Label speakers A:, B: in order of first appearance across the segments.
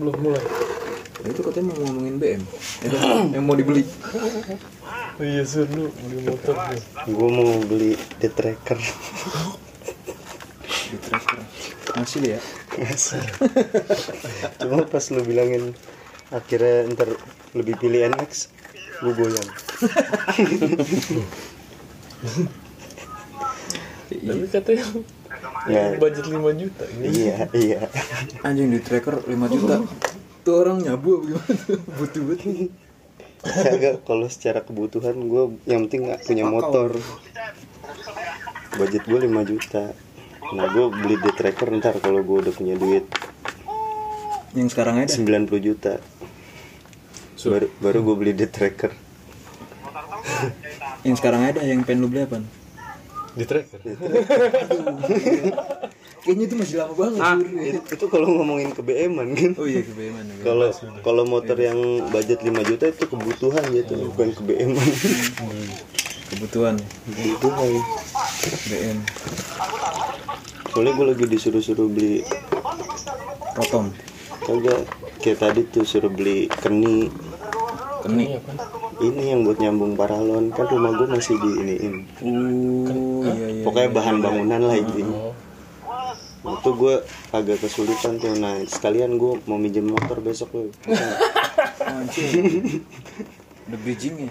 A: belum mulai
B: Nah, itu katanya mau ngomongin BM. Ya kan? yang mau dibeli.
A: oh, iya sun lu beli motor lu
C: Gue mau beli the tracker
B: Di tracker. Masih deh ya.
C: Masih. Cuma pas lu bilangin akhirnya ntar lebih pilih NX, gue goyang.
A: tapi katanya
C: Ya,
A: budget 5 juta gitu. ini
C: iya, iya.
B: Anjing di tracker 5 juta. Tuh orang nyabu apa gimana tuh? Butuh banget.
C: Kagak kalau secara kebutuhan gue yang penting nggak punya motor. Budget gue 5 juta. Nah gue beli the tracker ntar kalau gue udah punya duit
B: Yang sekarang aja.
C: 90 juta. Baru, baru gue beli the tracker.
B: Yang sekarang ada yang pengen lu beli apa?
A: di tracker
B: Kayaknya itu masih lama banget.
C: Ah,
B: Sur.
C: itu, itu kalau ngomongin ke BM-an kan.
B: Oh iya ke BM mana? BM?
C: Kalau kalau motor yang budget 5 juta itu kebutuhan gitu,
B: Iya.
C: bukan kebeeman.
B: Kebutuhan
C: kebutuhan.
B: BM
C: Soalnya gue lagi disuruh-suruh beli
B: Rotom
C: kagak kayak tadi tuh suruh beli keni
B: Keni.
C: ini yang buat nyambung paralon kan rumah gue masih di iniin
B: Uh, iya iya.
C: pokoknya bahan bangunan lah intinya Nah, itu gue agak kesulitan tuh nah sekalian gue mau minjem motor besok gue
B: Anjing. The Beijing ya.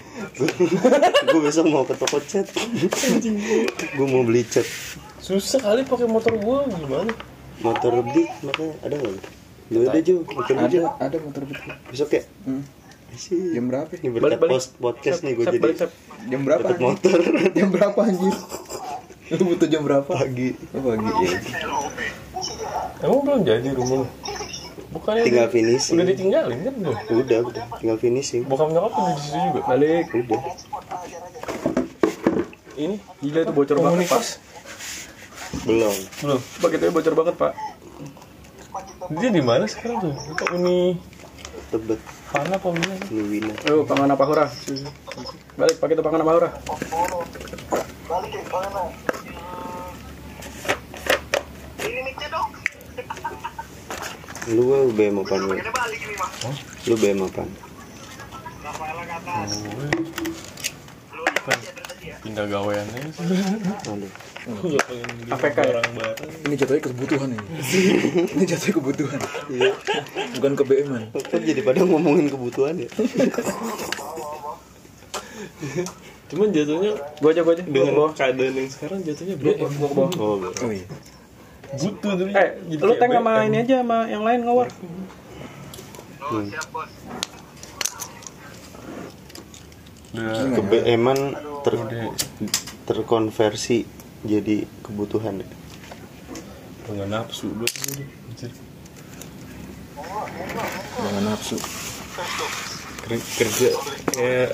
C: gue besok mau ke toko cat gue mau beli cat
A: susah kali pakai motor gua gimana
C: motor lebih makanya ada nggak lu ada juga motor lebih
B: Ada ada motor betul.
C: besok ya
B: Hmm.
C: Asik.
B: Jam berapa?
C: Ini
B: ya?
C: berkat
A: Balik, balik.
C: post podcast nih gue
A: Sep,
C: jadi
A: balik, sep.
B: Jam berapa?
C: dapat motor
B: Jam berapa anjir? Lu butuh jam berapa?
C: pagi.
B: Oh, pagi ya.
A: emang belum jadi rumah lu? bukannya
C: Tinggal
A: di-
C: finishing.
A: udah ditinggalin kan belum
C: Udah, udah. Tinggal finishing.
A: bokap nyokap udah di situ juga balik
C: Udah.
A: ini
D: Gila itu bocor banget pak
A: komunitas
C: Belum.
A: belum
D: Paketnya bocor banget pak
A: dia di mana sekarang tuh itu uni
C: Tebet
A: mana apa Uni apa?
C: Luwina.
D: Ayo pangan apa hura Balik paketnya pangan apa hura
C: Lu gue BM apaan lu? Lu BM apaan?
A: pindah gawean aja sih
C: Aduh.
A: Gua nggak pengen beli
D: APK ya?
A: barang
B: Ini jatuhnya kebutuhan ini. ini jatuhnya kebutuhan. Iya. Bukan ke BM an.
C: Kok jadi pada ngomongin kebutuhan ya?
A: cuman jatuhnya
D: Gue aja gue aja Gua
A: dengan
D: ke bawah.
A: keadaan yang sekarang jatuhnya
D: Gua
A: BM
D: ke bawah, gua ke bawah
C: Oh, belum.
B: Oh iya.
A: butuh tapi
D: Eh
A: jadi
D: lu
A: kayak
D: tank sama
A: BM.
D: ini aja sama yang lain ngawar
B: Iya,
A: Udah,
C: ke BM-an ter terkonversi jadi kebutuhan. ya?
A: udah nggak nafsu gue tuh anjir.
B: Jangan nafsu.
A: Ker- kerja kayak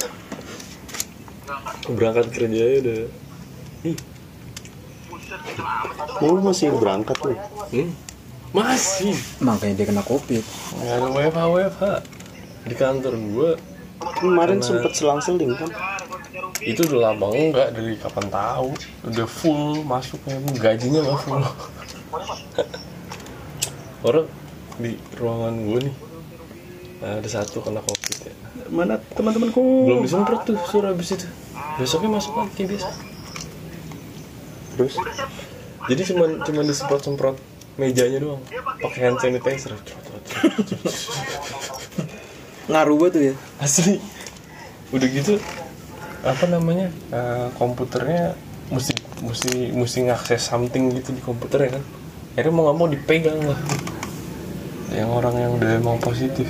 A: berangkat kerja aja udah
C: Lu masih berangkat lu?
A: masih
B: Makanya dia kena covid.
A: nggak ada WFH WFH di kantor gue
C: Kemarin sempet selang-seling kan?
A: itu udah lama enggak dari kapan tahu udah full masuknya Bu. gajinya nggak full orang di ruangan gue nih nah, ada satu kena covid ya
D: Mana teman-temanku
A: belum disemprot tuh sur abis itu besoknya masuk lagi biasa
C: Terus
A: jadi cuman cuman disemprot semprot mejanya doang pakai hand sanitizer Cuk, cuk, cuk.
B: Ngaruh banget tuh ya.
A: asli udah gitu apa namanya eh, komputernya mesti mesti mesti ngakses something gitu di komputer ya kan akhirnya mau nggak mau dipegang lah yang orang yang udah emang positif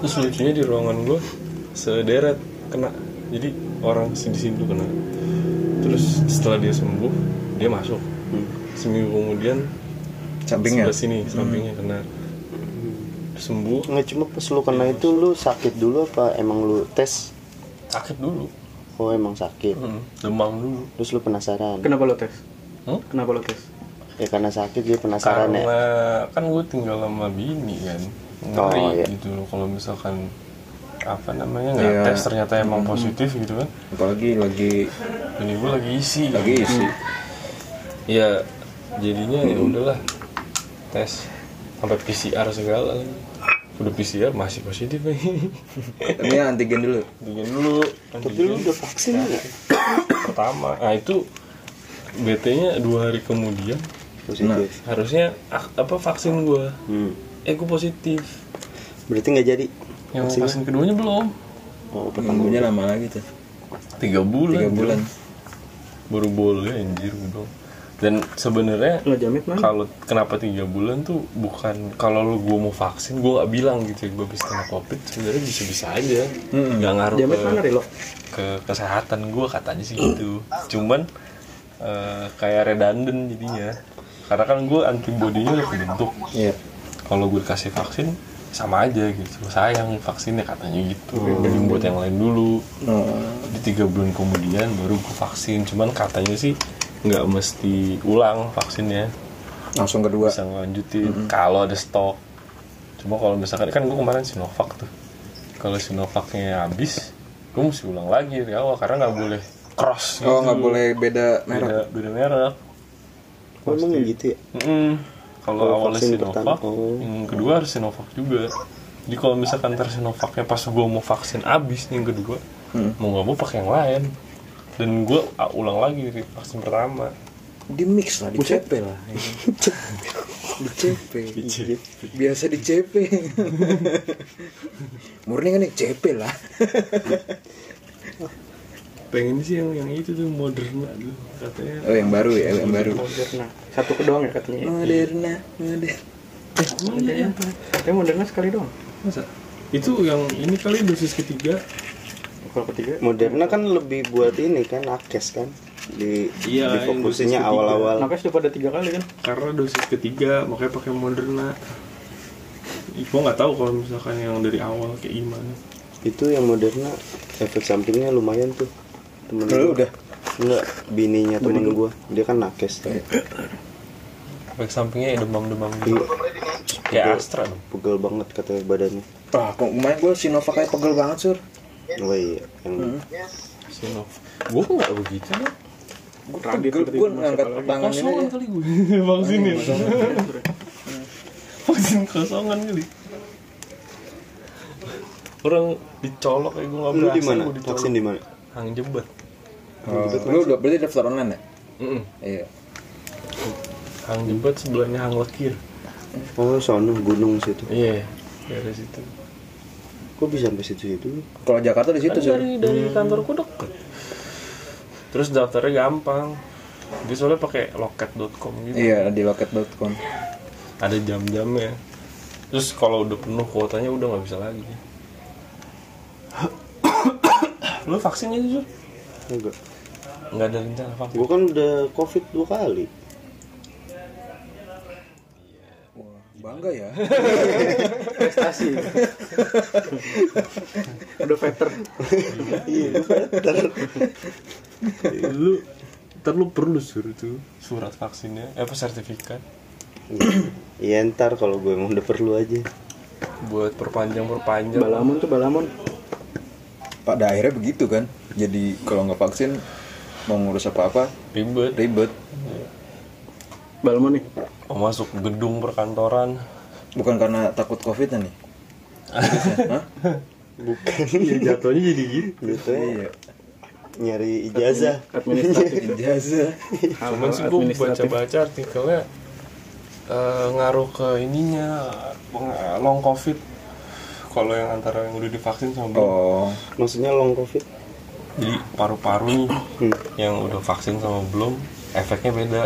A: terus lucunya di ruangan gue sederet kena jadi orang sini sini dulu kena terus setelah dia sembuh dia masuk seminggu kemudian
B: Sampingnya.
A: sebelah sini sampingnya kena sembuh
C: nggak cuma pas lu kena itu lu sakit dulu apa emang lu tes?
A: sakit dulu
C: Oh emang sakit.
A: demam dulu
C: Terus lu penasaran?
D: Kenapa lo tes?
A: Hmm?
D: Kenapa lo tes?
C: Ya karena sakit dia penasaran
A: karena
C: ya.
A: kan gue tinggal sama bini kan ngeri
C: Oh, iya.
A: gitu loh kalau misalkan apa namanya nggak
B: Iya.
A: tes ternyata emang positif gitu kan
B: Apalagi lagi
A: ini gue lagi isi kan. Iya,
B: lagi isi.
A: ya jadinya ya udahlah tes sampai PCR segala lagi. udah PCR masih positif lagi
B: Tapi ya antigen dulu.
A: bikin dulu
C: Tapi lu udah vaksin ya? nggak?
A: pertama nah itu BT nya dua hari kemudian
B: Nah,
C: Positif.
A: harusnya ak- apa vaksin gua
C: Hmm.
A: eh gua positif
C: Berarti nggak jadi.
A: yang
B: Oh,
C: Vaksinnya?
B: iya.
A: vaksin keduanya belum
C: Oh, pertama.
B: Nunggunya lama lagi tuh.
A: tiga bulan
B: Tiga bulan.
A: baru boleh anjir udah dan sebenarnya
D: Lo jamet mana?
A: kalau kenapa tiga bulan tuh bukan kalau lu gue mau vaksin gue nggak bilang gitu ya gue bisa kena covid sebenarnya bisa bisa aja
B: Mm-mm.
A: nggak ngaruh
D: Jamet
A: ke,
D: mana
B: ya?
D: Rilo?
A: ke kesehatan gue katanya sih gitu cuman eh, kayak redundant jadinya karena kan gue antibodinya udah kebentuk
C: Iya.
A: kalau gue dikasih vaksin sama aja gitu sayang vaksinnya katanya gitu
B: Oh.
A: jadi buat yang lain dulu
B: Nah,
A: di tiga bulan kemudian baru gue vaksin cuman katanya sih nggak mesti ulang vaksinnya
B: Langsung kedua.
A: bisa ngelanjutin kalau ada stok cuma kalau misalkan kan gue kemarin Sinovac tuh kalau Sinovacnya habis gue mesti ulang lagi dari awal karena nggak boleh cross gitu.
B: Oh nggak boleh beda merek.
A: beda beda merek
C: Oh, emang gitu ya?
A: Mm-mm. kalau
C: Kalau
A: awalnya
C: vaksin
A: Sinovac
C: pertama, oh.
A: yang kedua harus Sinovac juga jadi kalau misalkan ntar Sinovacnya pas gue mau vaksin habis nih yang kedua
B: Hmm.
A: mau nggak mau pakai yang lain dan gue ulang lagi dari vaksin pertama
B: Di mix lah, di CP lah. ya kan? di CP. Biasa di CP. Murni kan ya CP lah.
A: pengen sih yang, yang itu tuh Moderna tuh katanya
B: Oh yang baru ya, yang baru.
D: Moderna. Satu ke doang ya katanya.
B: Moderna, Moderna.
A: Oh, iya,
D: Moderna. Tapi Eh, Moderna sekali doang.
A: Masa? Itu yang ini kali dosis ketiga.
D: Kalau ketiga
C: Moderna kan lebih buat ini kan nakes kan di
A: Iya,
C: di fokusnya
A: yang dosis ketiga.
C: awal-awal
D: Nakes udah pada tiga kali kan?
A: Karena dosis ketiga makanya pakai Moderna. Ih, Gua nggak tahu kalau misalkan yang dari awal kayak gimana.
C: itu yang Moderna efek sampingnya lumayan tuh temen
B: Lu udah?
C: enggak bininya temen gua dia kan nakes kan
A: Efek sampingnya ya demam-demam
C: Iya,
A: Kayak Astra dong.
C: pegel banget katanya badannya
B: Ah, kok kemarin gue Sinovac kayak pegel banget sur.
C: oh iya
A: Hmm.
C: yang
A: Sinov. Gua kok nggak begitu ya.
B: Gue
D: Radit
B: pegel,
D: berarti
B: gue
D: masuk
B: ngangkat
D: lagi.
B: tangan ini. ya.
A: Kosongan
C: Iya.
B: aja.
A: kali gue. Vaksin ya. Vaksin kosongan kali. Orang dicolok kayak gua nggak
C: lu
A: berasa.
C: di mana
A: gua dicolok.
C: vaksin di mana
A: Hang jebat.
B: Oh, Lu udah berarti daftar online ya?
A: Mm-mm.
B: Iya.
A: Hang jebat sebelahnya hang lekir.
C: oh sono gunung situ
A: Iya. Dari situ.
C: kok bisa sampai situ situ
B: Kalau Jakarta di situ
A: Kan
B: sur.
A: dari dari kantorku deket terus daftarnya gampang dia soalnya pakai loket.com gitu
B: Iya di loket.com.
A: ada jam-jamnya terus kalau udah penuh kuotanya udah nggak bisa lagi lu vaksin itu
C: enggak
A: nggak ada rencana vaksin
C: gua kan udah covid dua kali
B: Bangga ya.
D: Prestasi. udah veter.
A: Iya, kan lu ntar lu perlu suruh tuh surat vaksinnya eh, apa sertifikat
C: Iya ntar kalau gue emang udah perlu aja
A: buat perpanjang perpanjang
D: Balamon tuh Balamon.
B: Pada akhirnya begitu kan. Jadi kalau nggak vaksin mau ngurus apa-apa
A: ribet
B: ribet.
D: Balamon nih.
A: mau masuk gedung perkantoran
B: Bukan karena takut covidnya nih. Hah?
A: ya jatuhnya jadi gitu
C: gitu ya
B: Iya.
C: nyari ijazah
D: Administratif.
B: Ijazah.
A: Cuman
D: Hal-hal
A: sih gue
D: administratif.
A: baca-baca artikelnya eh, ngaruh ke ininya peng- long covid kalau yang antara yang udah divaksin sama belum
B: Oh.
C: maksudnya long covid
A: jadi paru-paru nih
C: Hmm.
A: yang udah vaksin sama belum efeknya beda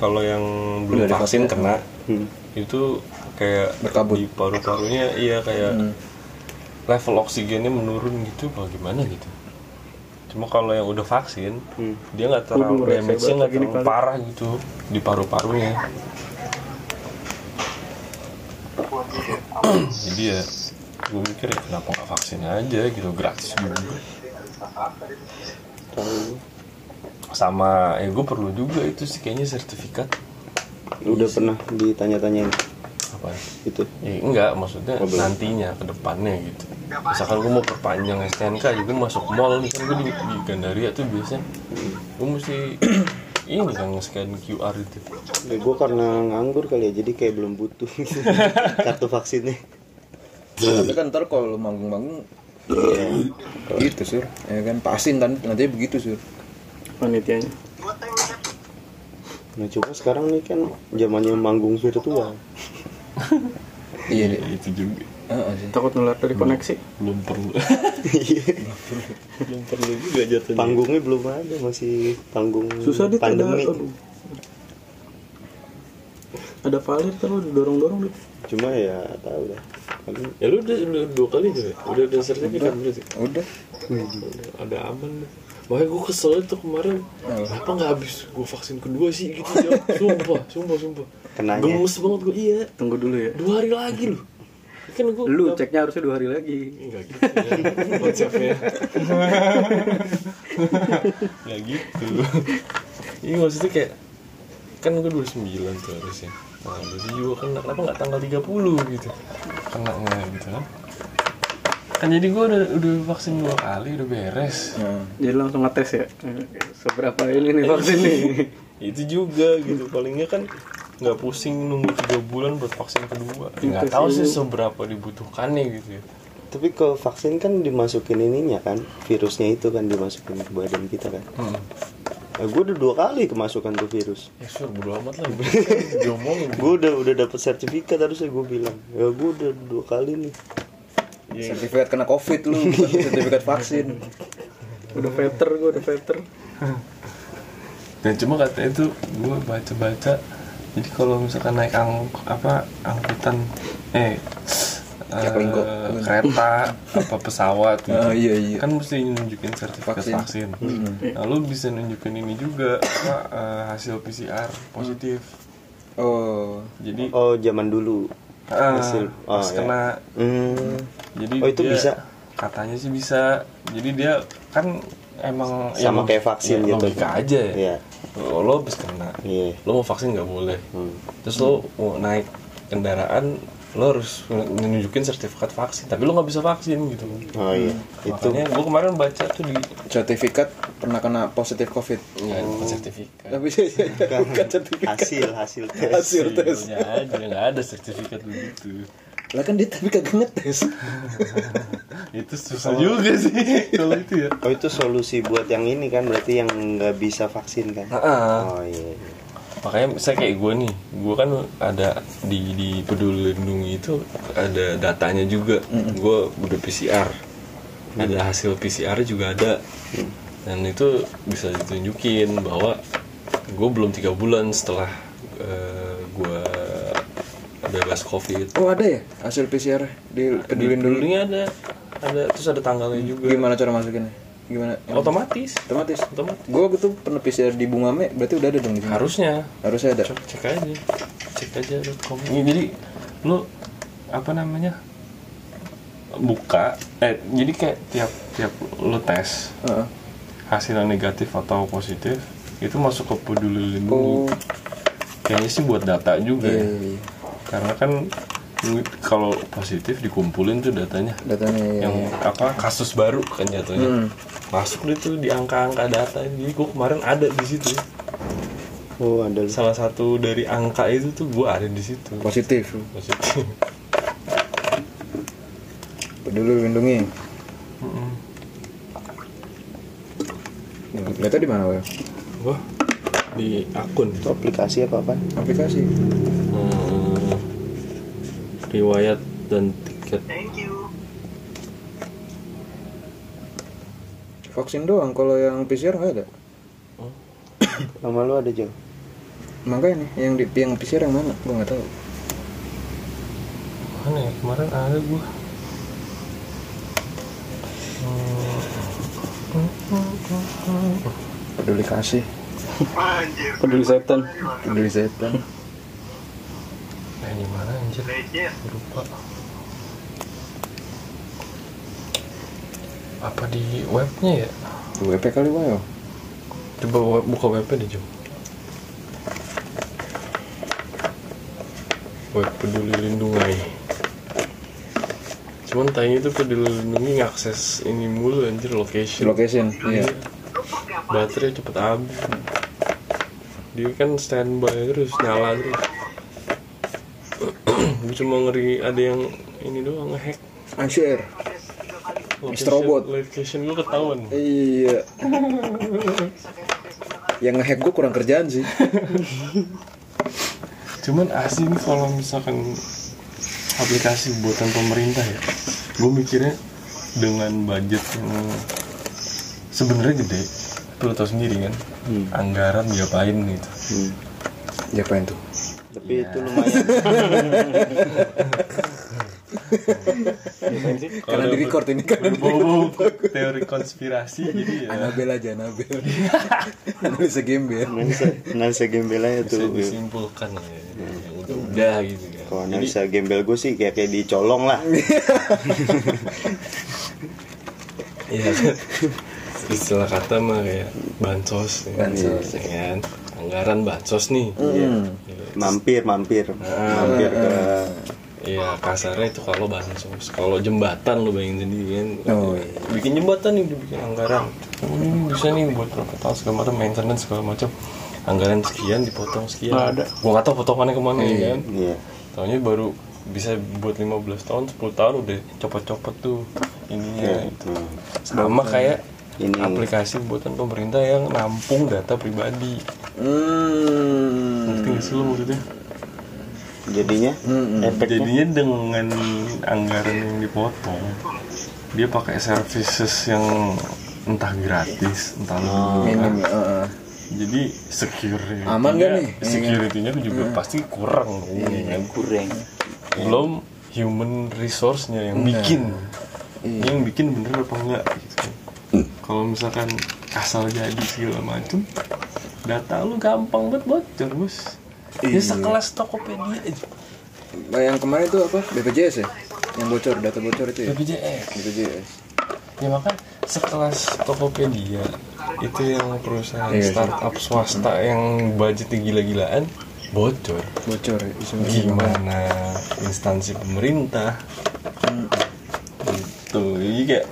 A: kalau yang belum
B: Udah
A: vaksin
B: divaksin,
A: kena
C: Hmm.
A: itu kayak
B: Berkabut.
A: di paru-parunya iya kayak level oksigennya menurun gitu bagaimana gitu cuma kalau yang udah vaksin
C: Hmm.
A: dia nggak
D: Waduh,
A: terlalu
D: rese
A: damage-nya nggak
D: banget gini
A: terlalu
D: kali.
A: parah gitu di paru-parunya jadi ya gue mikir ya, kenapa nggak vaksin aja gitu gratis juga
C: Tahu.
A: sama ya gue perlu juga itu sih kayaknya sertifikat
C: udah pernah ditanya-tanyain
A: apa
C: gitu
A: ya, enggak maksudnya
C: Oh, belum.
A: nantinya ke depannya gitu misalkan gue mau perpanjang STNK juga masuk mall nih kan gue di, di Gandaria tuh biasanya gue mesti ini kan nge-scan QR itu
C: Ya, gue karena nganggur kali ya, jadi kayak belum butuh kartu vaksinnya.
B: Tapi kan ntar kalau lu manggung-manggung iya. gitu sur ya kan pasin kan nanti begitu sur
D: panitianya
C: Nah cuma sekarang nih kan zamannya manggung virtual.
B: iya deh
A: Ya, itu juga
B: Heeh sih
D: takut nular dari koneksi
A: belum perlu belum perlu juga jatuhnya
C: Panggungnya belum ada, masih panggung
D: susah dia ada
C: pandemi.
D: aduh. ada valir kan lu didorong-dorong dit
C: Cuma ya tahu dah. Kan
A: ya lu udah, udah dua kali tuh ya? udah udah sertifikat berarti
B: udah
A: Udah- ada aman dah. makanya gue kesel itu kemarin kenapa nggak habis gue vaksin kedua sih gitu ya sumpah sumpah sumpah
C: Kenanya.
A: gemes banget gue iya
D: tunggu dulu ya
A: dua hari lagi loh kan gue
D: lu ceknya harusnya dua hari lagi
A: Enggak gitu ya konsepnya. Enggak gitu. Iya maksudnya kayak kan gue 29 tuh harusnya. Nah, berarti juga kan kenapa nggak tanggal 30 gitu. Kena nggak gitu kan. Kan jadi gue udah, udah vaksin dua kali udah beres.
B: Nah,
D: jadi langsung ngetes ya seberapa ini nih vaksin nih
A: Itu juga gitu palingnya kan nggak pusing nunggu tiga bulan buat vaksin kedua. Ya,
B: Gitu
A: Nggak
D: Itu
A: tahu sih
D: sih.
A: seberapa dibutuhkan nih gitu. ya.
C: Tapi ke vaksin kan dimasukin ininya kan, virusnya itu kan dimasukin ke badan kita kan.
A: Hmm.
C: Nah, gue udah dua kali kemasukan tuh virus.
A: Ya sur bodo amat lah. Diomongin.
C: Gue udah udah dapet sertifikat harusnya gue bilang. Ya gue udah dua kali nih.
B: sertifikat kena covid lu bukan sertifikat vaksin
D: udah veter gua udah veter
A: dan Nah, cuma katanya itu gue baca-baca jadi kalau misalkan naik ang apa angkutan eh
B: Kayak
A: eh,
B: pelingkok.
A: kereta apa pesawat gitu.
B: Ah, iya, iya.
A: kan mesti nunjukin sertifikat
B: Vaksin. Mm-hmm.
A: vaksin, lalu bisa nunjukin ini juga apa eh, hasil PCR positif
B: oh
A: jadi
C: Oh zaman dulu.
A: ah,
C: hasil- oh,
A: pas
C: ya.
A: kena
C: Hmm.
A: jadi
C: Oh, itu
A: dia-
C: bisa?
A: katanya sih bisa jadi dia kan emang
C: Sama
A: ya,
C: kayak vaksin
A: ya,
C: gitu.
A: logika aja ya
C: Iya.
A: lo, lo habis kena
C: Iya.
A: lo mau vaksin nggak boleh
C: Hmm.
A: terus lo mau naik kendaraan lo harus menunjukin sertifikat vaksin tapi lo nggak bisa vaksin gitu
C: Oh iya. Itu
A: makanya gue kemarin baca tuh di
B: sertifikat pernah kena positif covid
C: Oh.
A: nggak ada sertifikat
B: tapi bukan sertifikat
C: hasil hasil Iya, tes.
B: hasil tes
A: Hasilnya Iya, aja nggak ada sertifikat begitu
B: lah kan dia tapi kagak ngetes
A: itu susah juga sih kalau itu ya
C: Oh itu solusi buat yang ini kan berarti yang nggak bisa vaksin kan?
A: Heeh.
C: Oh iya. iya.
A: makanya saya kayak gue nih gue kan ada di di peduli lindungi itu ada datanya juga gue udah PCR ada hasil PCR juga ada dan itu bisa ditunjukin bahwa gue belum tiga bulan setelah gue bebas covid
B: oh ada ya hasil PCR di peduli
A: Di
B: dulu
A: pedulinya ada ada terus ada tanggalnya juga
B: gimana cara masukinnya gimana
A: otomatis
B: otomatis
A: otomatis
B: gue tuh pernah PCR di Bungame berarti udah ada dong di sini
A: harusnya
B: harusnya ada
A: cek, cek aja cek aja .com Ya, jadi lu apa namanya buka eh jadi kayak tiap tiap lu tes
B: Heeh.
A: hasilnya negatif atau positif itu masuk ke peduli lindungi
B: Oh.
A: kayaknya sih buat data juga
B: iya
A: ya
B: iya, iya.
A: karena kan lu kalau positif dikumpulin tuh datanya
B: datanya iya,
A: yang
B: iya.
A: apa kasus baru kan jatuhnya
B: Hmm.
A: masuk deh tuh di angka-angka data jadi gua kemarin ada di situ
C: Oh ada lu.
A: salah satu dari angka itu tuh gua ada di situ
B: positif
A: positif
B: peduli lindungi data di mana Wel?
A: Wah, di akun
C: Itu aplikasi apa apa?
B: aplikasi
A: Hmm, riwayat dan tiket
B: vaksin doang kalau yang PCR nggak ada
C: Nama lu ada jauh.
B: makanya nih yang di yang PCR yang mana gue nggak tahu
A: mana ya kemarin ada gua
B: peduli kasih
D: peduli setan
B: peduli setan
A: eh di mana anjir lupa apa di webnya ya
B: WP kali ya? Wayo
A: coba web- buka webnya deh Jom web peduli lindungi cuman tanya itu peduli lindungi ngakses ini mulu anjir location
B: location iya
A: baterai cepet habis dia kan standby terus nyala terus gue cuma ngeri ada yang ini doang ngehack
B: Anshare. Mr. Robot.
A: location gue ketahuan
B: Iya. yang ngehack gue kurang kerjaan sih.
A: cuman asli nih kalau misalkan aplikasi buatan pemerintah ya gue mikirnya dengan budget yang sebenarnya gede lu tau sendiri kan
B: Hmm.
A: anggaran diapain gitu
B: Diapain tuh?
C: tapi
A: Iya.
C: itu lumayan
B: Karena di record ini kan.
A: bau teori konspirasi jadi ya
B: Anabel aja Anabel. Analisa gembel.
C: analisa analisa gembelnya
A: bisa
C: tuh
A: disimpulkan lah ya yang udah-udah gitu kan
C: kalau analisa gembel gue sih kayak kayak dicolong lah
A: Iya. Istilah kata mah kayak bansos, ya.
B: Bansos.
A: Iya, kan? Anggaran bansos nih.
C: mampir mampir
A: Ah.
C: mampir ke
A: Iya kasarnya itu kalau bansos. Kalau jembatan lu bayangin sendiri kan.
B: Oh, iya.
A: Bikin jembatan nih dibikin anggaran. Hmm, bisa nih buat berapa tahun segala macam maintenance segala macam. Anggaran sekian dipotong sekian.
D: Nggak ada.
A: Gua nggak tahu potongannya kemana ya kan.
C: iya
A: Tahunya baru bisa buat 15 tahun, 10 tahun udah copot-copot tuh ininya
C: itu
A: sama kayak
C: Ya, hmm. Ini.
A: aplikasi buatan pemerintah yang nampung data pribadi
B: Hmm.
A: ngerti nggak sih lo maksudnya
C: jadinya
A: Hmm,
C: efeknya
A: jadinya dengan anggaran yang dipotong dia pakai services yang entah gratis entah lu-
B: Minim ya. heeh.
A: jadi security
B: Aman nggak nih? Hmm. Iya,
A: security-nya juga pasti kurang dong, ya kan?
C: kurang
A: belum human resource-nya yang bikin
B: Iya. Hmm.
A: yang bikin bener apa enggak gitu. kalau misalkan asal jadi segala macam data lu gampang banget bocor bos
B: Iya.
A: ya sekelas Tokopedia aja
B: Nah, Yang kemarin tuh apa? BPJS ya? Yang bocor, data bocor itu ya?
A: BPJS
B: BPJS.
A: ya maka sekelas Tokopedia itu yang perusahaan
B: Iya, iya.
A: startup swasta yang budgetnya gila-gilaan bocor
B: Bocor ya? Bisa
A: gimana instansi pemerintah gitu jadi kayak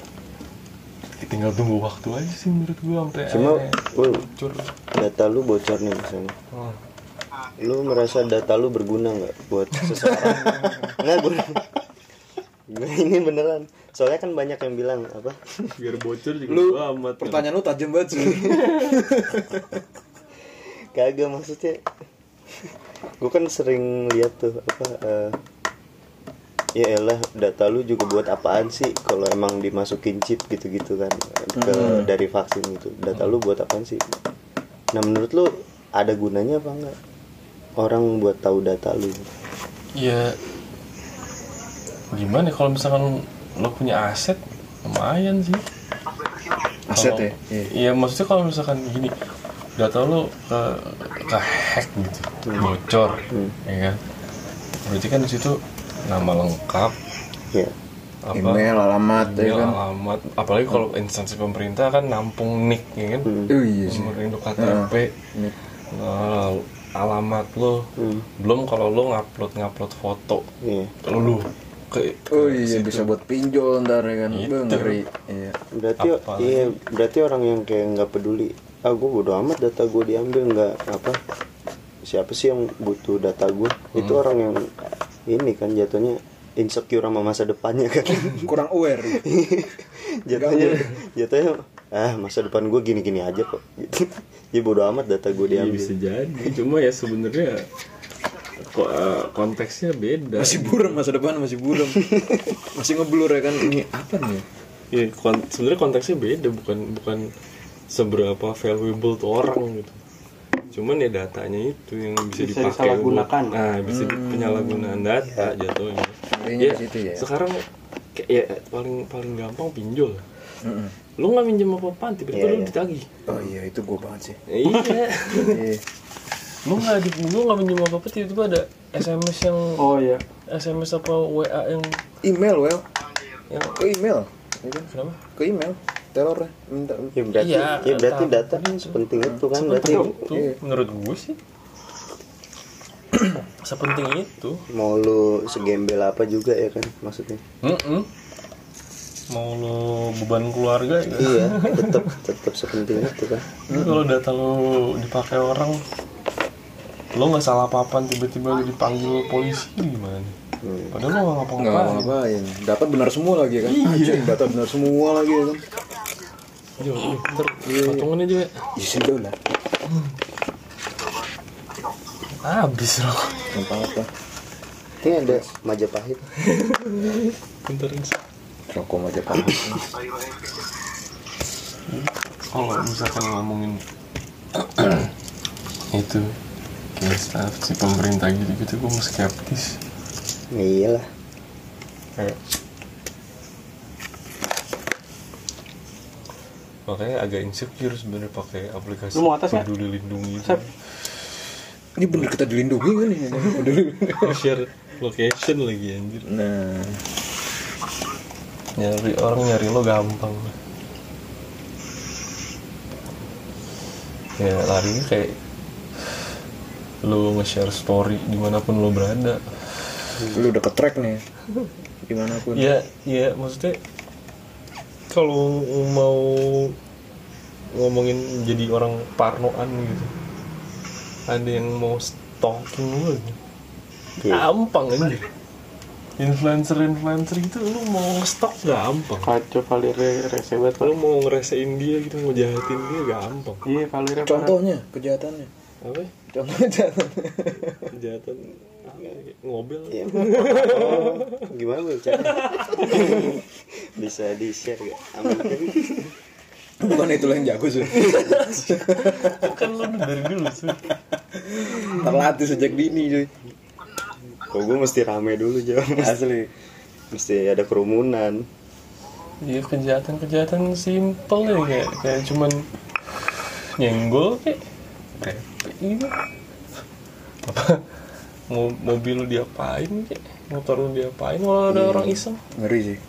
A: tinggal tunggu waktu aja sih menurut gua sampai
C: cuma
A: akhirnya
C: woy,
A: bocor
C: data lu bocor nih misalnya
A: Oh.
C: lu merasa data lu berguna nggak buat seseorang nggak gue Nah, ini beneran soalnya kan banyak yang bilang apa
A: biar bocor juga
B: Lu,
A: gua amat
B: Pertanyaan lu tajam banget sih.
C: kagak maksudnya gue kan sering lihat tuh apa eh, ya elah data lu juga buat apaan sih kalau emang dimasukin chip gitu-gitu kan ke dari vaksin gitu data lu buat apaan sih nah menurut lu ada gunanya apa enggak orang buat tahu data lu
A: ya gimana ya kalau misalkan lo punya aset lumayan sih
B: Aset
A: Kalau-
B: ya? Iya.
A: Iya maksudnya kalau misalkan gini data lo ke ke hack gitu
B: Hmm.
A: bocor ya kan berarti kan di situ nama lengkap
C: ya
A: apa
B: Email, alamat ya
A: email,
B: kan?
A: alamat Iya, apalagi kalau instansi pemerintah kan nampung nick ya kan
B: Oh iya sih.
A: nomor induk KTP
B: Nick.
A: nah, alamat lo
C: Hmm.
A: belum kalau lo ngupload ngupload foto
C: iya
A: lo lu ke
B: Oh iya bisa buat pinjol ntar ya kan?
A: Gitu.
B: Bang, ngeri. Iya.
C: berarti
A: Apalagi-
C: iya berarti orang yang kayak nggak peduli ah gue bodo amat data gue diambil nggak apa siapa sih yang butuh data gue itu
A: Hmm.
C: orang yang ini kan jatuhnya insecure sama masa depannya kan
B: Kurang aware.
C: jatuhnya jatuhnya ah masa depan gue gini gini aja kok gitu ya bodo amat data gue
A: Iya
C: diambil
A: bisa jadi, cuma ya sebenarnya ko- eh, konteksnya beda.
B: masih buram masa depan masih buram. masih ngeblur ya kan? Ini apa nih?
A: Iya, kon- sebenarnya konteksnya beda, bukan bukan seberapa valuable tuh orang gitu. Cuman ya datanya itu yang bisa,
D: Bisa
A: dipakai
D: disalahgunakan.
A: buat- Nah, bisa di- penyalahgunaan data jatuhnya.
B: Intinya
A: Ya,
B: di situ ya.
A: Sekarang kayak ya, paling paling gampang pinjol. Lu nggak minjem apa-apaan, tiba-tiba
C: Iya,
A: lu
C: iya.
A: ditagih.
B: Oh iya itu gue banget sih.
A: Iya.
B: Iya.
A: lu nggak di- lu nggak minjem apa-apa, tiba-tiba ada SMS yang
D: Oh iya.
A: SMS apa WA yang
B: Email well.
A: yang
B: Ke email. Ya kan?
A: kenapa?
B: Ke email. Teror ya. minta.
C: ya berarti
A: Iya,
C: ya berarti
A: tahu.
C: data sepenting itu kan berarti
A: Sepenting itu, menurut gue sih. Sepenting itu.
C: mau lu segembel apa juga ya kan maksudnya
A: Mm-mm. Mau lo beban keluarga ya.
C: iya tetap tetap sepenting itu kan
A: Ini kalau data lo dipakai orang lo nggak salah apa-apaan tiba-tiba lo dipanggil polisi gimana padahal lo nggak
B: nggak
A: ngapa-ngapain
B: ngapa ngapain data benar semua lagi ya kan anjing data benar semua lagi ya kan
A: Jo, lu, ntar patungannya juga
B: isi dolar
A: habis rokok
B: apa apa
C: Ini ada Majapahit.
A: bentar
B: rokok aja paham
A: kalau misalkan ngomongin itu kayak staff si pemerintah gitu-gitu gue masih skeptis
C: Iya lah.
A: kayak makanya agak insecure sebenarnya pakai aplikasi
D: Lu mau atas nggak?
A: peduli lindungi itu.
D: Sep.
B: ini bener kita dilindungi kan ya
A: share location lagi anjir
B: nah
A: nyari orang nyari lo gampang ya larinya kayak lo nge-share story dimanapun lo berada
B: lu udah ke track nih dimanapun
A: ya ya maksudnya kalau mau ngomongin jadi orang parnoan gitu ada yang mau stalking lo gitu.
C: Iya.
A: gampang aja influencer influencer itu lu mau stok gampang
D: Kacau Valire rese banget Pak.
A: lu mau ngeresein dia gitu mau jahatin dia gampang
D: Iya Valire parah.
B: contohnya kejahatannya
A: apa
B: contohnya kejahatannya
A: jahatan ngobel
C: Iya. Oh, gimana lu cara? Bisa di share gak? Aman kan?
B: bukan itu yang jago sih
A: kan lu dari dulu sih
B: terlatih sejak dini cuy
C: Kalau gue mesti rame dulu jauh. Asli. Mesti ada kerumunan.
A: iya kejahatan kejahatan simple ya kayak kayak cuman nyenggol kayak Repek gitu apa mau mobil lu diapain kayak motor lu diapain kalau ada orang iseng
B: ngeri sih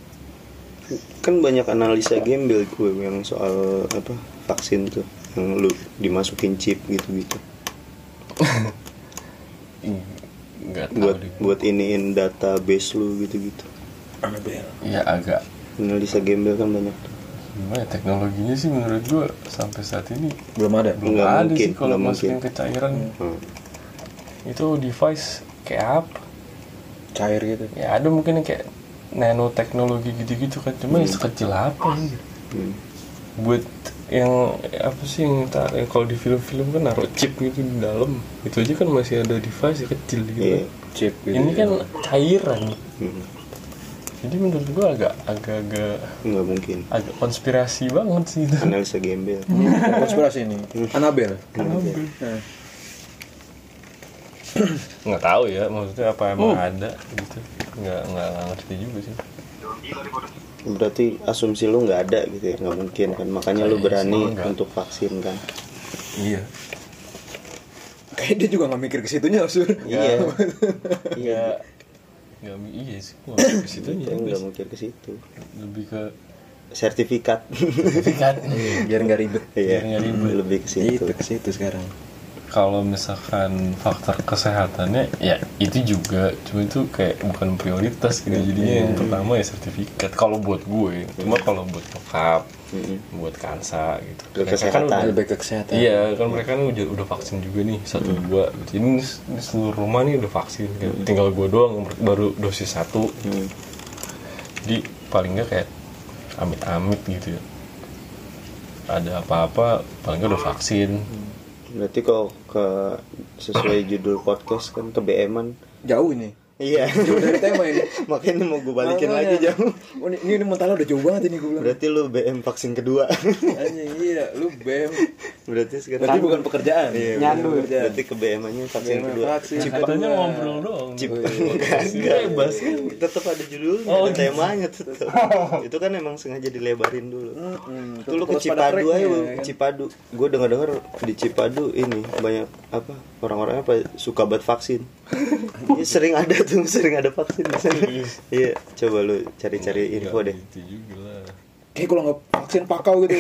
C: Kan banyak analisa gembel gue yang soal apa vaksin tuh yang lu dimasukin chip gitu-gitu
A: nggak tahu
C: buat
A: deh.
C: buat iniin database lu gitu-gitu
B: Annabelle
A: ya agak
C: analisa gembel kan banyak tuh
A: Gimana ya, teknologinya sih menurut gua sampai saat ini
B: belum ada
A: belum
C: Nggak
A: ada
C: mungkin,
A: sih kalau
C: nggak
A: masukin
C: mungkin.
A: ke cairan
C: Hmm.
A: itu device kayak apa
B: cair gitu
A: ya ada mungkin yang kayak nanoteknologi gitu-gitu kan cuma ya sekecil apa ya.
C: Hmm.
A: buat yang apa sih yang, ta- yang kalau di film-film kan naruh chip gitu di dalam itu aja kan masih ada device yang kecil gitu
C: Iya.
B: chip gitu
A: ini kan cairan
C: Hmm.
A: jadi menurut gua agak agak agak
C: nggak mungkin
A: agak konspirasi banget sih itu
C: analisa gembel
B: konspirasi ini Annabelle Nah,
A: nggak tahu ya maksudnya apa emang ada gitu nggak nggak nggak ngerti juga sih
C: berarti asumsi lu nggak ada gitu ya nggak mungkin kan makanya
A: Kayaknya
C: lu
A: semua
C: berani
A: nggak.
C: untuk vaksin kan
A: iya
B: kayak dia juga nggak mikir ke situnya sur
C: iya
A: iya nggak iya sih gua nggak ke situ
C: Itu
A: ya
C: nggak
A: guys.
C: mungkin ke situ
A: lebih ke
C: sertifikat
A: sertifikat
B: biar nggak ribet
C: iya
A: nggak ribet.
C: lebih ke
B: itu
C: situ
B: ke situ sekarang
A: kalau misalkan faktor kesehatannya ya itu juga cuma itu kayak bukan prioritas gitu
C: Iya,
A: jadinya yang pertama ya sertifikat kalau buat gue cuma kalau buat nyokap buat kansa gitu
C: Ke
A: Mereka kan
C: kesehatan.
A: udah-
B: Nah, lebih ke kesehatan
A: Iya, kan mereka kan udah, udah vaksin juga nih satu
C: Mm.
A: dua. Gitu. Ini s- di seluruh rumah nih udah vaksin. Gitu. Tinggal gue doang yang ber- baru dosis satu.
C: Hmm.
A: Jadi paling nggak kayak amit-amit gitu. ya. Ada apa-apa paling nggak udah vaksin.
C: berarti kalau ke sesuai judul podcast kan kebeman
B: jauh ini
C: iya
B: jauh dari tema ini
C: makanya mau gue balikin
B: Makanya.
C: lagi jauh
B: Oh, ini ini mentala udah jauh banget ini gue bilang
C: berarti lu BM vaksin kedua
B: anjing iya lu bem
C: berarti sekarang
B: berarti bukan pekerjaan
C: Iya,
D: Nyandu.
C: bener. berarti kebemannya vaksin
B: Kebeman
C: kedua
B: vaksin.
C: Cip-
A: Katanya ngobrol doang.
C: Cip-
A: Enggak bebas kan.
C: tetap ada judulnya,
A: Oh,
C: ada
A: gitu.
C: temanya tetap. itu kan emang sengaja dilebarin dulu.
B: Mm-mm.
C: Itu lu
B: Hmm. Terus pada
C: ke Cipadu aja,
B: tracknya,
C: lu.
B: ya kan?
C: Cipadu. Gue dengar-dengar di Cipadu ini banyak apa orang-orang apa suka buat vaksin. Ini sering ada tuh, sering ada vaksin di sana. Iya, coba lu cari-cari info deh.
A: Itu Ya, gitu juga lah.
B: kayak kalau nggak vaksin pakau gitu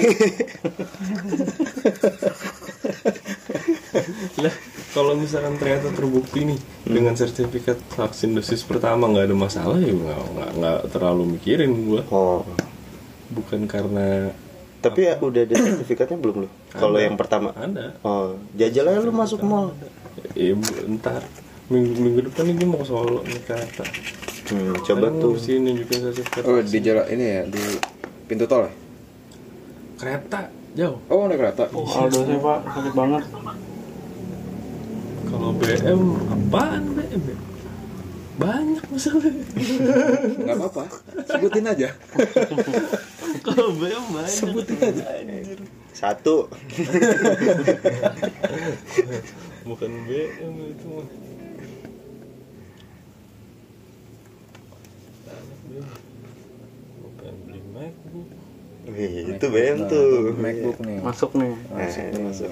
A: Lah, kalau misalkan ternyata terbukti nih dengan sertifikat vaksin dosis pertama nggak ada masalah ya nggak nggak- nggak terlalu mikirin gue.
C: Oh.
A: Bukan karena
C: Tapi ya, udah ada sertifikatnya belum lu? Kalau
A: Ada.
C: yang pertama.
A: ada
C: Oh, jajalan lu masuk mall.
A: ya ntar minggu minggu depan ini mau ke Solo nih ternyata
C: Hmm, coba
A: Tadi
C: tuh
A: mau sih nunjukin sertifikat
B: Oh, di
A: vaksin.
B: jalan ini ya, di pintu tol ya?
A: kereta jauh
B: Oh, naik kereta.
D: Saldo saya ya, pak sakit banget.
A: kalau BM apaan BM ya? banyak masalah
B: Enggak apa-apa. Sebutin aja.
A: kalau BM banyak
B: Sebutin aja.
C: satu
A: bukan BM itu mah Banyak BM. Gua pengen beli MacBook
C: Wih, itu BM tuh
B: MacBook nih.
D: Masuk nih.
C: Nah,
B: Masuk
C: itu
B: nih.
C: masuk.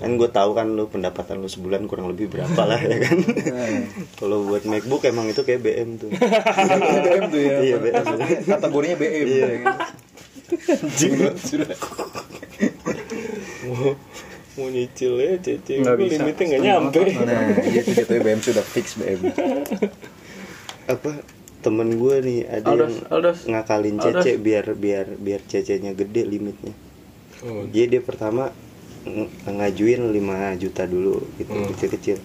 C: kan gue tahu kan lu pendapatan lu sebulan kurang lebih berapa lah ya kan
B: Nah,
C: kalau buat MacBook emang itu kayak BM tuh
B: BM tuh ya.
C: Iya, BM.
B: Kategorinya BM. Iya.
A: Sudah, sudah. mau mau nyicil ya cece
D: Nggak
A: Gua
D: bisa.
A: limitnya nggak nyampe
B: Nah, iya itu jatuhnya BM sudah fix BM.
C: apa temen gue nih ada
D: Aldos,
C: yang
D: Aldos.
C: ngakalin
D: Aldos.
C: cece biar biar biar cecenya gede limitnya
A: oh,
C: Jadi dia pertama ng- ngajuin 5 juta dulu gitu
A: Hmm.
C: kecil-kecil.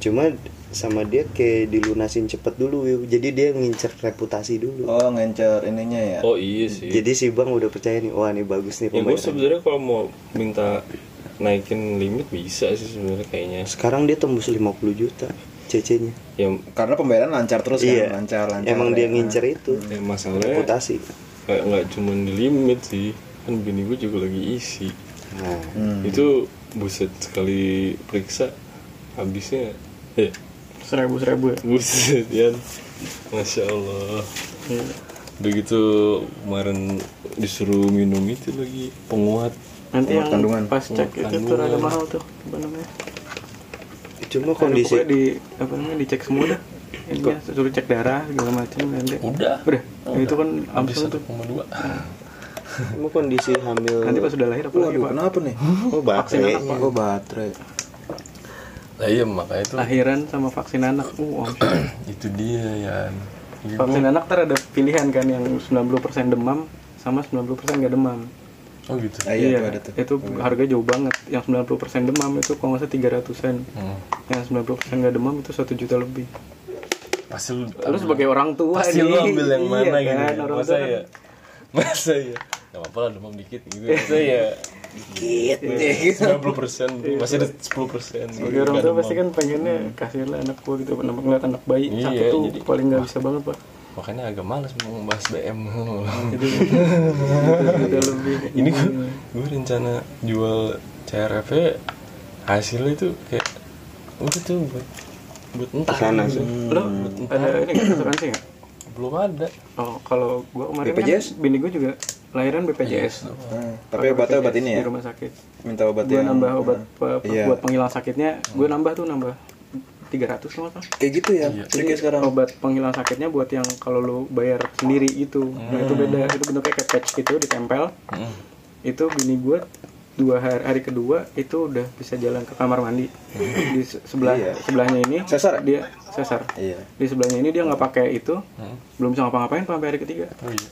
C: Cuma sama dia kayak dilunasin cepet dulu, Wiw. jadi dia ngincer reputasi dulu.
B: Oh, ngencer ininya ya.
A: oh iya sih
C: Jadi si bang udah percaya nih, wah ini bagus
A: ya
C: nih
A: gue
C: pembayaran.
A: sebenarnya kalau mau minta naikin limit bisa sih sebenarnya kayaknya
C: Sekarang dia tembus 50 juta CC-nya.
A: ya,
B: Karena pembayaran lancar terus
C: Iya.
B: kan, lancar lancar.
C: Emang dia
B: ya.
C: ngincer itu
A: ya masalahnya
C: reputasi.
A: kayak nggak cuma di limit sih kan bini gue juga lagi isi
C: Nah,
B: Hmm.
A: itu buset sekali periksa habisnya eh
D: Seribu seribu ya.
A: buset ya masya allah
D: Iya.
A: begitu kemarin disuruh minum itu lagi penguat
B: Umur
D: Nanti yang
B: kandungan.
D: pas cek
A: Umur
D: itu tuh
A: kandungan.
D: ada mahal tuh. Apa namanya?
C: cuma kondisi
D: Kondisi di apa namanya dicek semua dah. Ini ya, suruh cek darah segala macam nanti.
A: Udah.
D: Udah. Ya, itu kan
A: habis
D: langsung
A: satu
D: tuh.
A: koma dua
C: cuma kondisi hamil.
D: Nanti pas sudah lahir apa lagi
B: Waduh,
D: pak?
B: kenapa nih?
C: oh,
D: vaksin
C: baterai.
D: anak, Pak.
B: Oh, baterai.
A: lah iya makanya itu
D: Lahiran sama vaksin anak. Uh, om.
A: itu dia ya
D: Vaksin anak ntar ada pilihan kan yang 90% demam sama 90% gak demam.
A: oh gitu
B: Ah, iya, itu ada tuh.
D: itu harga jauh banget. Yang 90% demam itu kalau nggak salah 300-an.
A: Hmm.
D: Yang 90% gak demam itu 1 juta lebih.
A: pasti lu
D: Lu sebagai orang tua
A: pasti lu
D: nih,
A: ambil yang
D: iya
A: mana
D: kan,
A: gitu ya?
D: orang
A: masa
D: tua kan-
A: ya masa ya nggak apa-apa lah demam dikit gitu masa
D: Iya.
A: ya dikit sembilan puluh persen masih ada sepuluh persen
D: Sebagai Iya. orang tua pasti kan pengennya kasihan lah anak gua gitu. Kenapa ngeliat anak bayi
A: Iya,
D: sakit tuh
A: jadi-
D: paling nggak bisa banget pak.
A: makanya agak males mau membahas BM
D: Jadi 1 juta lebih.
A: ini gue
D: Iya.
A: gue rencana jual CRF -nya, hasilnya itu kayak udah tuh buat buat entah
C: Sana
A: gitu.
C: sih.
D: Lo ada ini nggak asuransi nggak?
A: belum ada
D: Oh, kalau gua kemarin
B: BPJS?
D: kan bini gua juga lahiran BPJS.
B: Hmm, Tapi
D: Pakai
B: obatnya obat
D: BPJS
B: ini ya.
D: Di rumah sakit.
B: Minta obat
D: Gue
B: yang
D: Iya, nambah obat pe- pe-
B: Iya.
D: buat penghilang sakitnya, gue nambah tuh nambah 300 sama kan.
B: kayak gitu ya.
A: Iya.
B: Jadi kayak sekarang
D: obat penghilang sakitnya buat yang kalau lu bayar sendiri itu. Nah,
B: Hmm.
D: itu beda. Itu bentuknya kayak patch gitu ditempel.
A: Mm.
D: Itu bini gue dua hari, hari kedua itu udah bisa jalan ke kamar mandi. Di se- sebelah
B: Iya.
D: sebelahnya ini
B: Sesar?
D: dia sesar.
B: Iya. Hmm.
D: Di sebelahnya ini dia nggak pakai itu. Belum bisa ngapa-ngapain sampai hari ketiga.
A: oh iya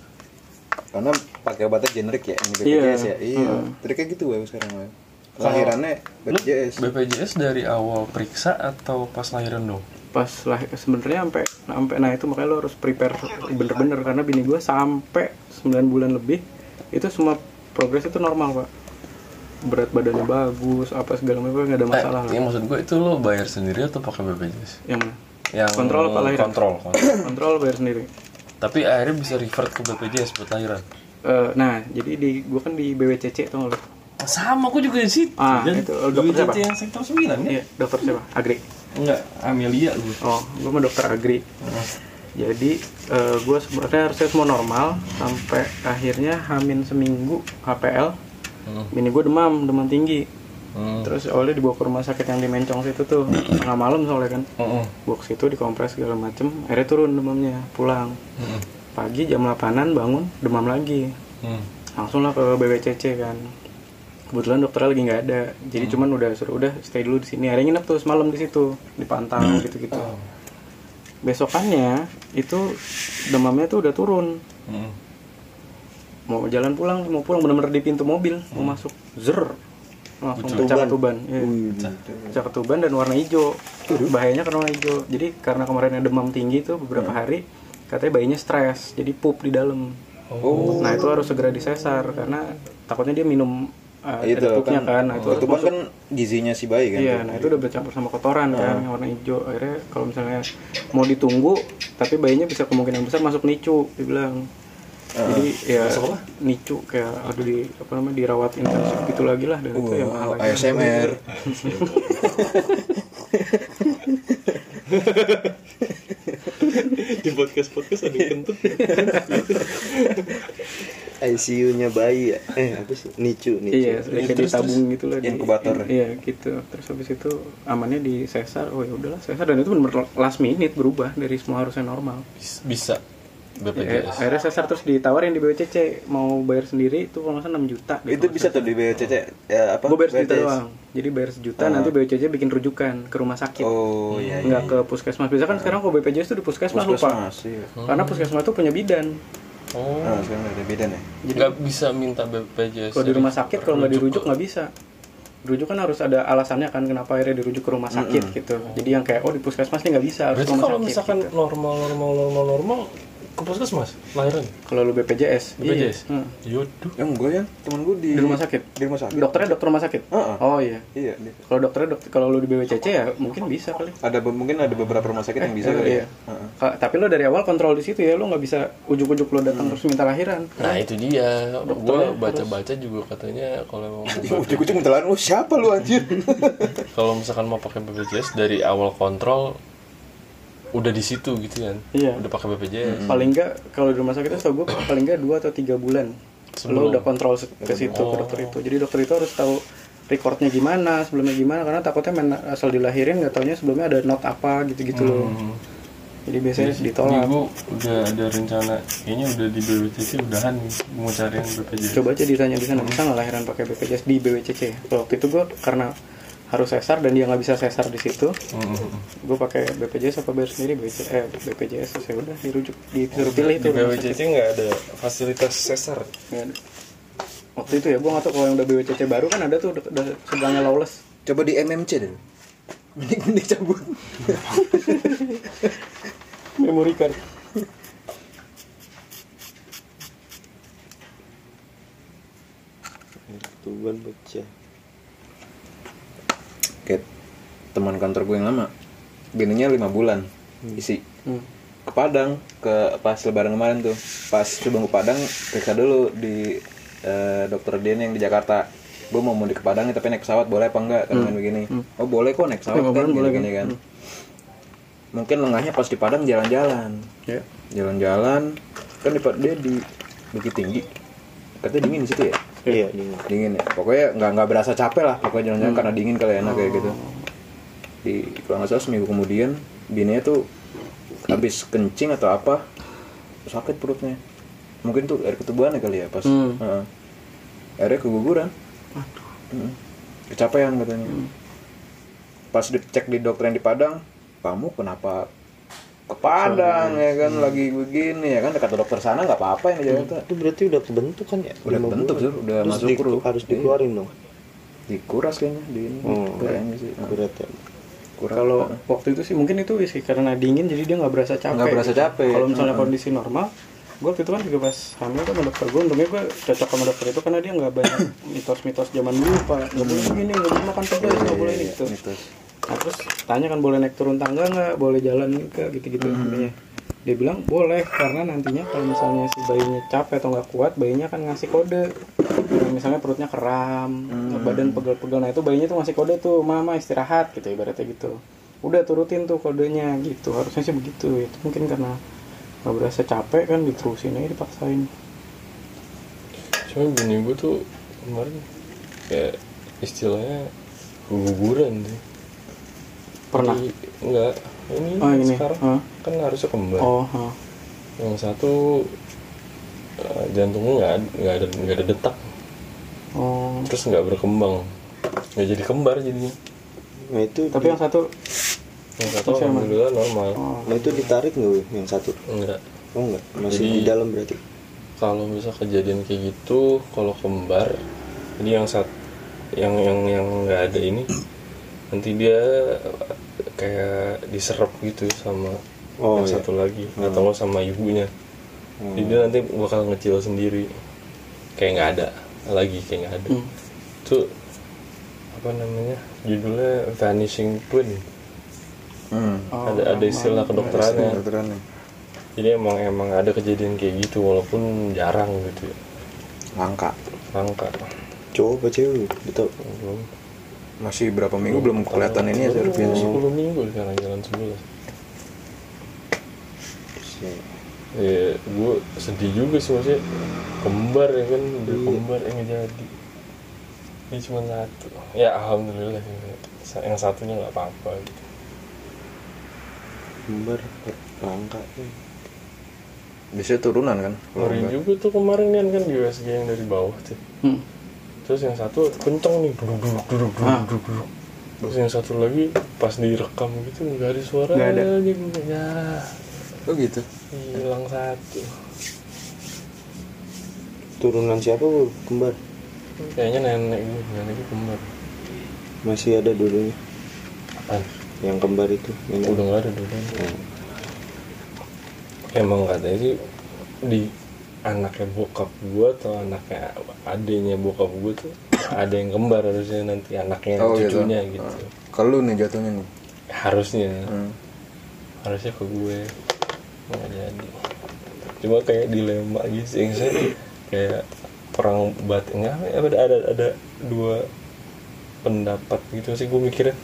B: Karena pakai obatnya generik ya, ini
D: Iya.
B: BPJS ya. Iya. Jadi kayak gitu ya sekarang ya. Lahirannya
A: Lu
B: BPJS.
A: BPJS dari awal periksa atau pas lahiran dong?
D: pas lah sebenarnya sampai sampai nah itu makanya lo harus prepare bener-bener karena bini gue sampai 9 bulan lebih itu semua progres itu normal pak berat badannya bagus apa segala macam nggak ada masalah
A: Eh,
D: lah
A: ya, maksud gue itu lo bayar sendiri atau pakai BPJS?
D: yang mana?
A: Yang
D: Kontrol apa lahiran?
A: Kontrol. kontrol.
D: kontrol bayar sendiri
A: Tapi akhirnya bisa revert ke BPJS buat lahiran.
D: Eh, nah jadi di gue kan di BWCC tau nggak lo
A: Sama, aku juga di situ.
D: Ah, itu dokter siapa?
A: BPJS yang sektor 9
D: iya dokter siapa Agri
A: Enggak, Amelia gue.
D: oh gue mah dokter Agri jadi eh, gue sebenarnya harusnya semua normal sampai akhirnya hamin seminggu HPL
A: Hmm.
D: bini gue demam demam tinggi
A: Hmm.
D: Terus awalnya dibawa ke rumah sakit yang di Mencong situ tuh tengah malam soalnya kan.
A: Mm-mm.
D: Bawa ke situ dikompres segala macem. Akhirnya turun demamnya, pulang. Pagi jam 8-an bangun demam lagi.
A: Hmm.
D: Langsung lah ke BWCC kan. Kebetulan dokternya lagi nggak ada. Jadi cuman udah suruh udah stay dulu di sini. Akhirnya nginep tuh semalam di situ, dipantau gitu-gitu. Besokannya itu demamnya tuh udah turun.
A: Hmm.
B: Hmm.
D: Mau jalan pulang, mau pulang bener-bener di pintu mobil, mau masuk. Zer. langsung
A: Betul.
C: Tuban.
D: pecah ketuban iya.
B: gitu.
D: pecah ketuban dan warna hijau bahayanya karena warna hijau jadi karena kemarin demam tinggi itu beberapa
B: Hmm.
D: hari katanya bayinya stres jadi pup di dalam
B: Oh.
D: nah itu harus segera disesar karena takutnya dia minum uh,
B: Itu
D: ada pupnya kan,
B: kan.
D: Nah, itu harus
B: Ketuban
D: masuk.
B: kan gizinya si bayi kan.
D: Iya, nah itu udah bercampur sama kotoran kan yang warna hijau. Akhirnya kalau misalnya mau ditunggu, tapi bayinya bisa kemungkinan besar masuk nicu, dibilang. Jadi ya nicu kayak aduh di apa namanya dirawat intensif gitu lagi lah dan itu yang mahal
B: Wow,
D: lagi.
B: ASMR.
A: di podcast podcast ada kentut
C: ICU-nya bayi ya. Eh, apa sih? Nicu, nicu.
D: Iya, kayak ditabung gitu lah di-
B: Inkubator.
D: Iya, gitu. Terus habis itu amannya di sesar. Oh ya udahlah sesar dan itu benar last minute berubah dari semua harusnya normal.
A: bisa
D: Ya,
A: BPJS
D: akhirnya sesar terus ditawarin di BCC mau bayar sendiri itu kalau nggak salah 6 juta.
B: Itu
D: gitu. deh, kalau nggak
B: bisa tuh di BCC ya, apa?
D: gue bayar sejuta
B: BCS.
D: doang jadi bayar sejuta nanti BPJS bikin rujukan ke rumah sakit
B: Oh, iya iya. Ah.
D: nggak ke puskesmas bisa kan sekarang kalau BPJS itu di puskesmas, lupa Hmm.
B: Puskesmas, iya.
D: karena puskesmas itu punya bidan
A: oh
B: Nah, sekarang ada bidan ya.
D: jadi
A: nggak bisa minta
B: Iya,
A: BPJS
D: kalau di rumah sakit kalau nggak
A: rujuk
D: dirujuk nggak bisa dirujuk kan harus ada alasannya kan kenapa akhirnya dirujuk ke rumah sakit gitu jadi yang kayak oh di puskesmas nih nggak bisa harus ke
A: berarti
D: rumah
A: kalau
D: sakit
A: misalkan
D: gitu.
A: normal normal normal normal ke puskesmas lahiran
D: kalau lu BPJS iya.
A: BPJS
D: Hmm.
A: Yaudah.
B: Ya enggak ya, temen gue di
D: di rumah sakit
B: Di rumah sakit.
D: dokternya dokter rumah sakit
B: Heeh.
D: oh iya
B: Iya, di-
D: kalau dokternya dokter kalau lu di BPJS ya mungkin bisa kali
B: ada be- mungkin ada beberapa rumah sakit yang bisa
D: Iya,
B: kali
D: iya.
B: ya. Heeh.
D: Ka- Tapi lo dari awal kontrol di situ ya, lo nggak bisa ujuk-ujuk lo datang terus minta lahiran.
A: nah itu dia
D: Dokternya
A: gua baca-baca juga katanya kalau emang
B: Ih, Ujung-ujung telan lu siapa lu anjir?
A: kalau misalkan mau pakai BPJS dari awal kontrol udah di situ gitu kan
D: Iya.
A: udah pakai BPJS
D: Paling nggak kalau di rumah sakit itu gue paling nggak dua atau tiga bulan
A: Sebelum.
D: lo udah kontrol se- ke situ ke dokter itu. Jadi dokter itu harus tahu recordnya gimana, sebelumnya gimana, karena takutnya main asal dilahirin nggak taunya sebelumnya ada not apa gitu-gitu loh. Jadi biasanya
A: Ini
D: ditolak.
A: gue udah ada rencana kayaknya udah di BPJS udahan nih, mau cari yang BPJS
D: Coba aja ditanya di sana bisa nggak lahiran pakai BPJS di BWCC. Kalau waktu itu gue karena harus sesar dan dia nggak bisa sesar di situ,
A: Mm-mm.
D: gue pakai BPJS apa bayar sendiri BPJS eh, BPJS terus ya udah dirujuk disuruh pilih itu
A: di BPJS nggak ada fasilitas sesar
D: waktu itu ya gue nggak tahu kalau yang udah BWCC baru kan ada tuh dek- dek- sebelahnya lawless
B: Coba di MMC deh. Mending mending cabut.
D: memori card
C: Tuban pecah.
B: Kayak teman kantor gue yang lama. Bininya lima bulan. Isi
D: hmm.
B: ke Padang ke pas lebaran kemarin tuh. Pas sebelum ke Padang periksa dulu di eh, dokter Dian yang di Jakarta. Gue mau mudik ke Padang nih, tapi naik pesawat boleh apa enggak
D: Hmm.
B: kan begini. Oh, boleh kok naik pesawat
D: Lima
B: kan
D: bulan boleh Hmm.
B: gini-gini kan. Mungkin lengahnya pas di Padang jalan-jalan.
D: ya
B: jalan-jalan kan di dia di Bukit Tinggi katanya dingin di situ ya
C: Iya, dingin.
B: dingin ya pokoknya nggak nggak berasa capek lah pokoknya jalan-jalan karena dingin kali ya, enak kayak gitu di kalau nggak salah seminggu kemudian bininya tuh habis kencing atau apa sakit perutnya mungkin tuh air ketubuhannya kali ya pas
D: Hmm.
B: Heeh. airnya keguguran Heeh. kecapean katanya pas dicek di dokter yang di Padang kamu kenapa ke Padang ya kan lagi begini ya kan dekat dokter sana nggak apa-apa yang di Jakarta
C: Itu berarti udah kebentuk kan ya?
B: Udah
C: Lima
B: kebentuk,
C: bulan.
B: Sur. Udah
C: Terus
B: masuk
C: di-
B: kru.
C: Harus
B: Iya.
C: dikeluarin dong.
B: dikuras kayaknya di ini
C: Oh,
B: kayaknya sih Nah,
C: Berat ya.
B: kuras.
D: kalau waktu itu sih mungkin itu sih karena dingin jadi dia nggak berasa capek gitu.
B: Nggak berasa capek.
D: kalau misalnya kondisi normal gue waktu itu kan juga pas hamil kan sama dokter gue untungnya gue cocok sama dokter itu karena dia nggak banyak mitos-mitos zaman dulu pak nggak boleh
B: Hmm.
D: begini nggak boleh makan pedas nggak boleh
B: Iya,
D: ini gitu
B: mitos.
D: Nah, terus tanya kan boleh naik turun tangga nggak, boleh jalan nggak, gitu-gitu
A: Hmm.
D: intinya. Dia bilang boleh karena nantinya kalau misalnya si bayinya capek atau nggak kuat, bayinya kan ngasih kode. Nah, misalnya perutnya keram,
A: Hmm.
D: badan pegel-pegel, nah itu bayinya tuh ngasih kode tuh, mama istirahat gitu ibaratnya gitu. Udah turutin tuh kodenya gitu, harusnya sih begitu. Itu mungkin karena nggak berasa capek kan diterusin aja dipaksain.
A: cuma bini gue tuh kemarin kayak istilahnya keguguran sih
D: Pernah?
A: Jadi, enggak ini,
D: Oh, ini.
A: sekarang
D: Hah?
A: kan harusnya kembar
D: Oh, ha.
A: yang satu eh, jantungnya nggak ad- nggak ada nggak ada detak
D: oh.
A: terus nggak berkembang nggak jadi kembar jadinya
C: Nah, itu
D: Tapi yang satu,
A: yang satu
D: Terus yang mana?
A: alhamdulillah normal
D: oh.
C: nah, itu ditarik nggak Wi, yang satu?
A: enggak
C: Oh enggak, masih
A: Jadi-
C: di dalam berarti.
A: kalau misal kejadian kayak gitu kalau kembar jadi yang satu yang yang yang nggak ada ini nanti dia eh, kayak diserap gitu sama yang
B: Oh, iya. Hmm.
A: satu lagi atau nggak sama ibunya jadi dia nanti bakal ngecil sendiri kayak nggak ada lagi kayak nggak ada
D: Hmm.
A: itu apa namanya judulnya vanishing twin
B: Hmm.
D: Oh,
A: ada ada istilah kedokterannya
B: Kedokterannya.
A: jadi emang emang ada kejadian kayak gitu walaupun jarang gitu ya
B: Langka.
A: langka
C: cowok apa cewek betul
A: belum
B: Masih berapa minggu belum kelihatan ini ya
A: Baru
B: servisnya.
A: 10 minggu sekarang jalan sebulan
B: Si-
A: ya gue sedih juga sih maksudnya kembar ya kan udah
D: Iya.
A: kembar yang nggak jadi ini cuma satu ya alhamdulillah sih. Sa- yang satunya nggak apa-apa gitu
C: kembar langka
B: Biasanya turunan kan.
D: Oh,
B: kalau
A: Ngeri
B: enggak.
A: juga tuh kemarin kan kan di USG yang dari bawah tuh
D: Hmm.
A: terus yang satu kenceng nih duduk duduk duduk duduk
D: Ah.
A: duduk duduk. terus yang satu lagi pas direkam gitu nggak ada suara
D: Nggak ada.
A: aja gue ya
B: Oh gitu.
A: hilang satu
C: turunan siapa bu kembar
A: kayaknya nenek gue nenek gue kembar
C: masih ada dulunya
A: apaan
C: yang kembar itu nenek.
A: udah nggak ada dulu emang katanya sih di anaknya bokap gua atau anaknya adiknya bokap gua tuh ada yang kembar harusnya nanti anaknya
B: Oh gitu.
A: cucunya gitu,
B: Kalau nih jatuhnya nih.
A: harusnya
B: Hmm.
A: harusnya ke gue nggak jadi cuma kayak dilema gitu sih yang saya kayak perang batin nggak apa, ada ada ada dua pendapat gitu sih gue mikirnya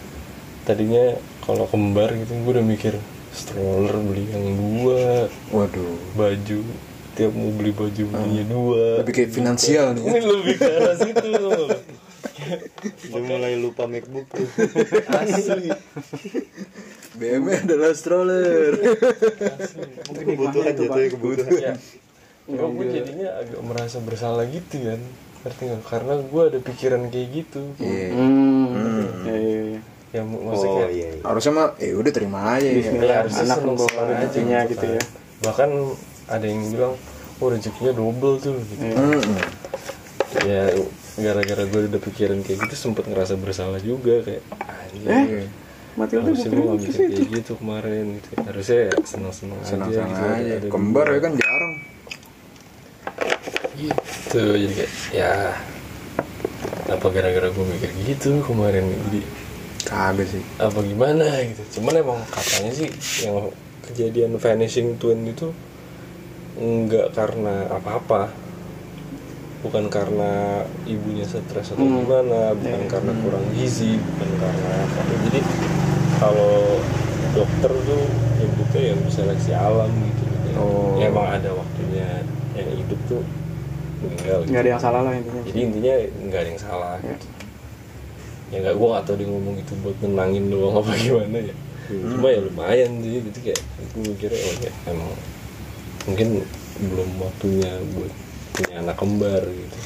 A: tadinya kalau kembar gitu gue udah mikir stroller beli yang dua
B: Waduh.
A: baju tiap mau beli baju belinya dua
B: Lebih kayak finansial nih. ya.
A: ini lebih ke arah situ loh
C: udah mulai lupa macbook tuh
A: asli
B: BMW adalah stroller.
C: kebutuhan jatuhnya kebutuhan
A: ya Cuma gue jadinya agak merasa bersalah gitu kan ngerti nggak karena gue ada pikiran kayak gitu
B: Iya.
D: Hmm. Ya, ya, ya.
A: yang maksudnya
C: oh iya iya.
B: Harusnya mah eh udah terima aja
A: ya
B: ya.
A: harusnya
D: Iya, Anak
A: seneng
D: membawa
A: seneng aja
D: rezekinya
A: gitu
D: gitu
A: kan.
D: ya.
A: bahkan ada yang bilang oh rezekinya double tuh gitu
B: Mm-mm.
A: ya gara-gara gue udah pikiran kayak gitu sempet ngerasa bersalah juga kayak anjir
B: Iya.
D: Matilda
A: harusnya gue
D: bukan
A: nggak bisa kayak gitu kemarin gitu harusnya ya senang-senang aja
B: Senang-senang
A: gitu,
B: aja.
A: ada- ada
B: Kembar
A: dua.
B: ya kan jarang.
A: gitu jadi kayak ya apa gara-gara gue mikir gitu kemarin jadi
B: Kagak sih.
A: apa gimana gitu cuman emang katanya sih yang kejadian vanishing twin itu nggak karena apa-apa bukan karena ibunya stres atau
D: Hmm.
A: gimana bukan
D: Iya.
A: karena kurang gizi bukan karena apa jadi kalau dokter tuh nyebutnya ya seleksi alam gitu
B: Oh.
A: ya, emang ada waktunya yang hidup tuh meninggal gitu
D: Nggak ada yang salah lah intinya.
A: jadi intinya nggak ada yang salah
D: Ya.
A: gitu. ya nggak gue nggak tahu dia ngomong itu buat nenangin doang apa gimana ya cuma ya lumayan sih gitu kayak gue mikirnya oh ya emang mungkin belum waktunya buat punya anak kembar gitu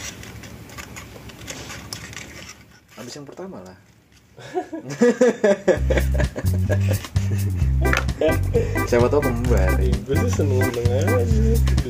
B: Habis yang pertama lah. Siapa tahu kembar.
A: Ya, gue tuh seneng seneng aja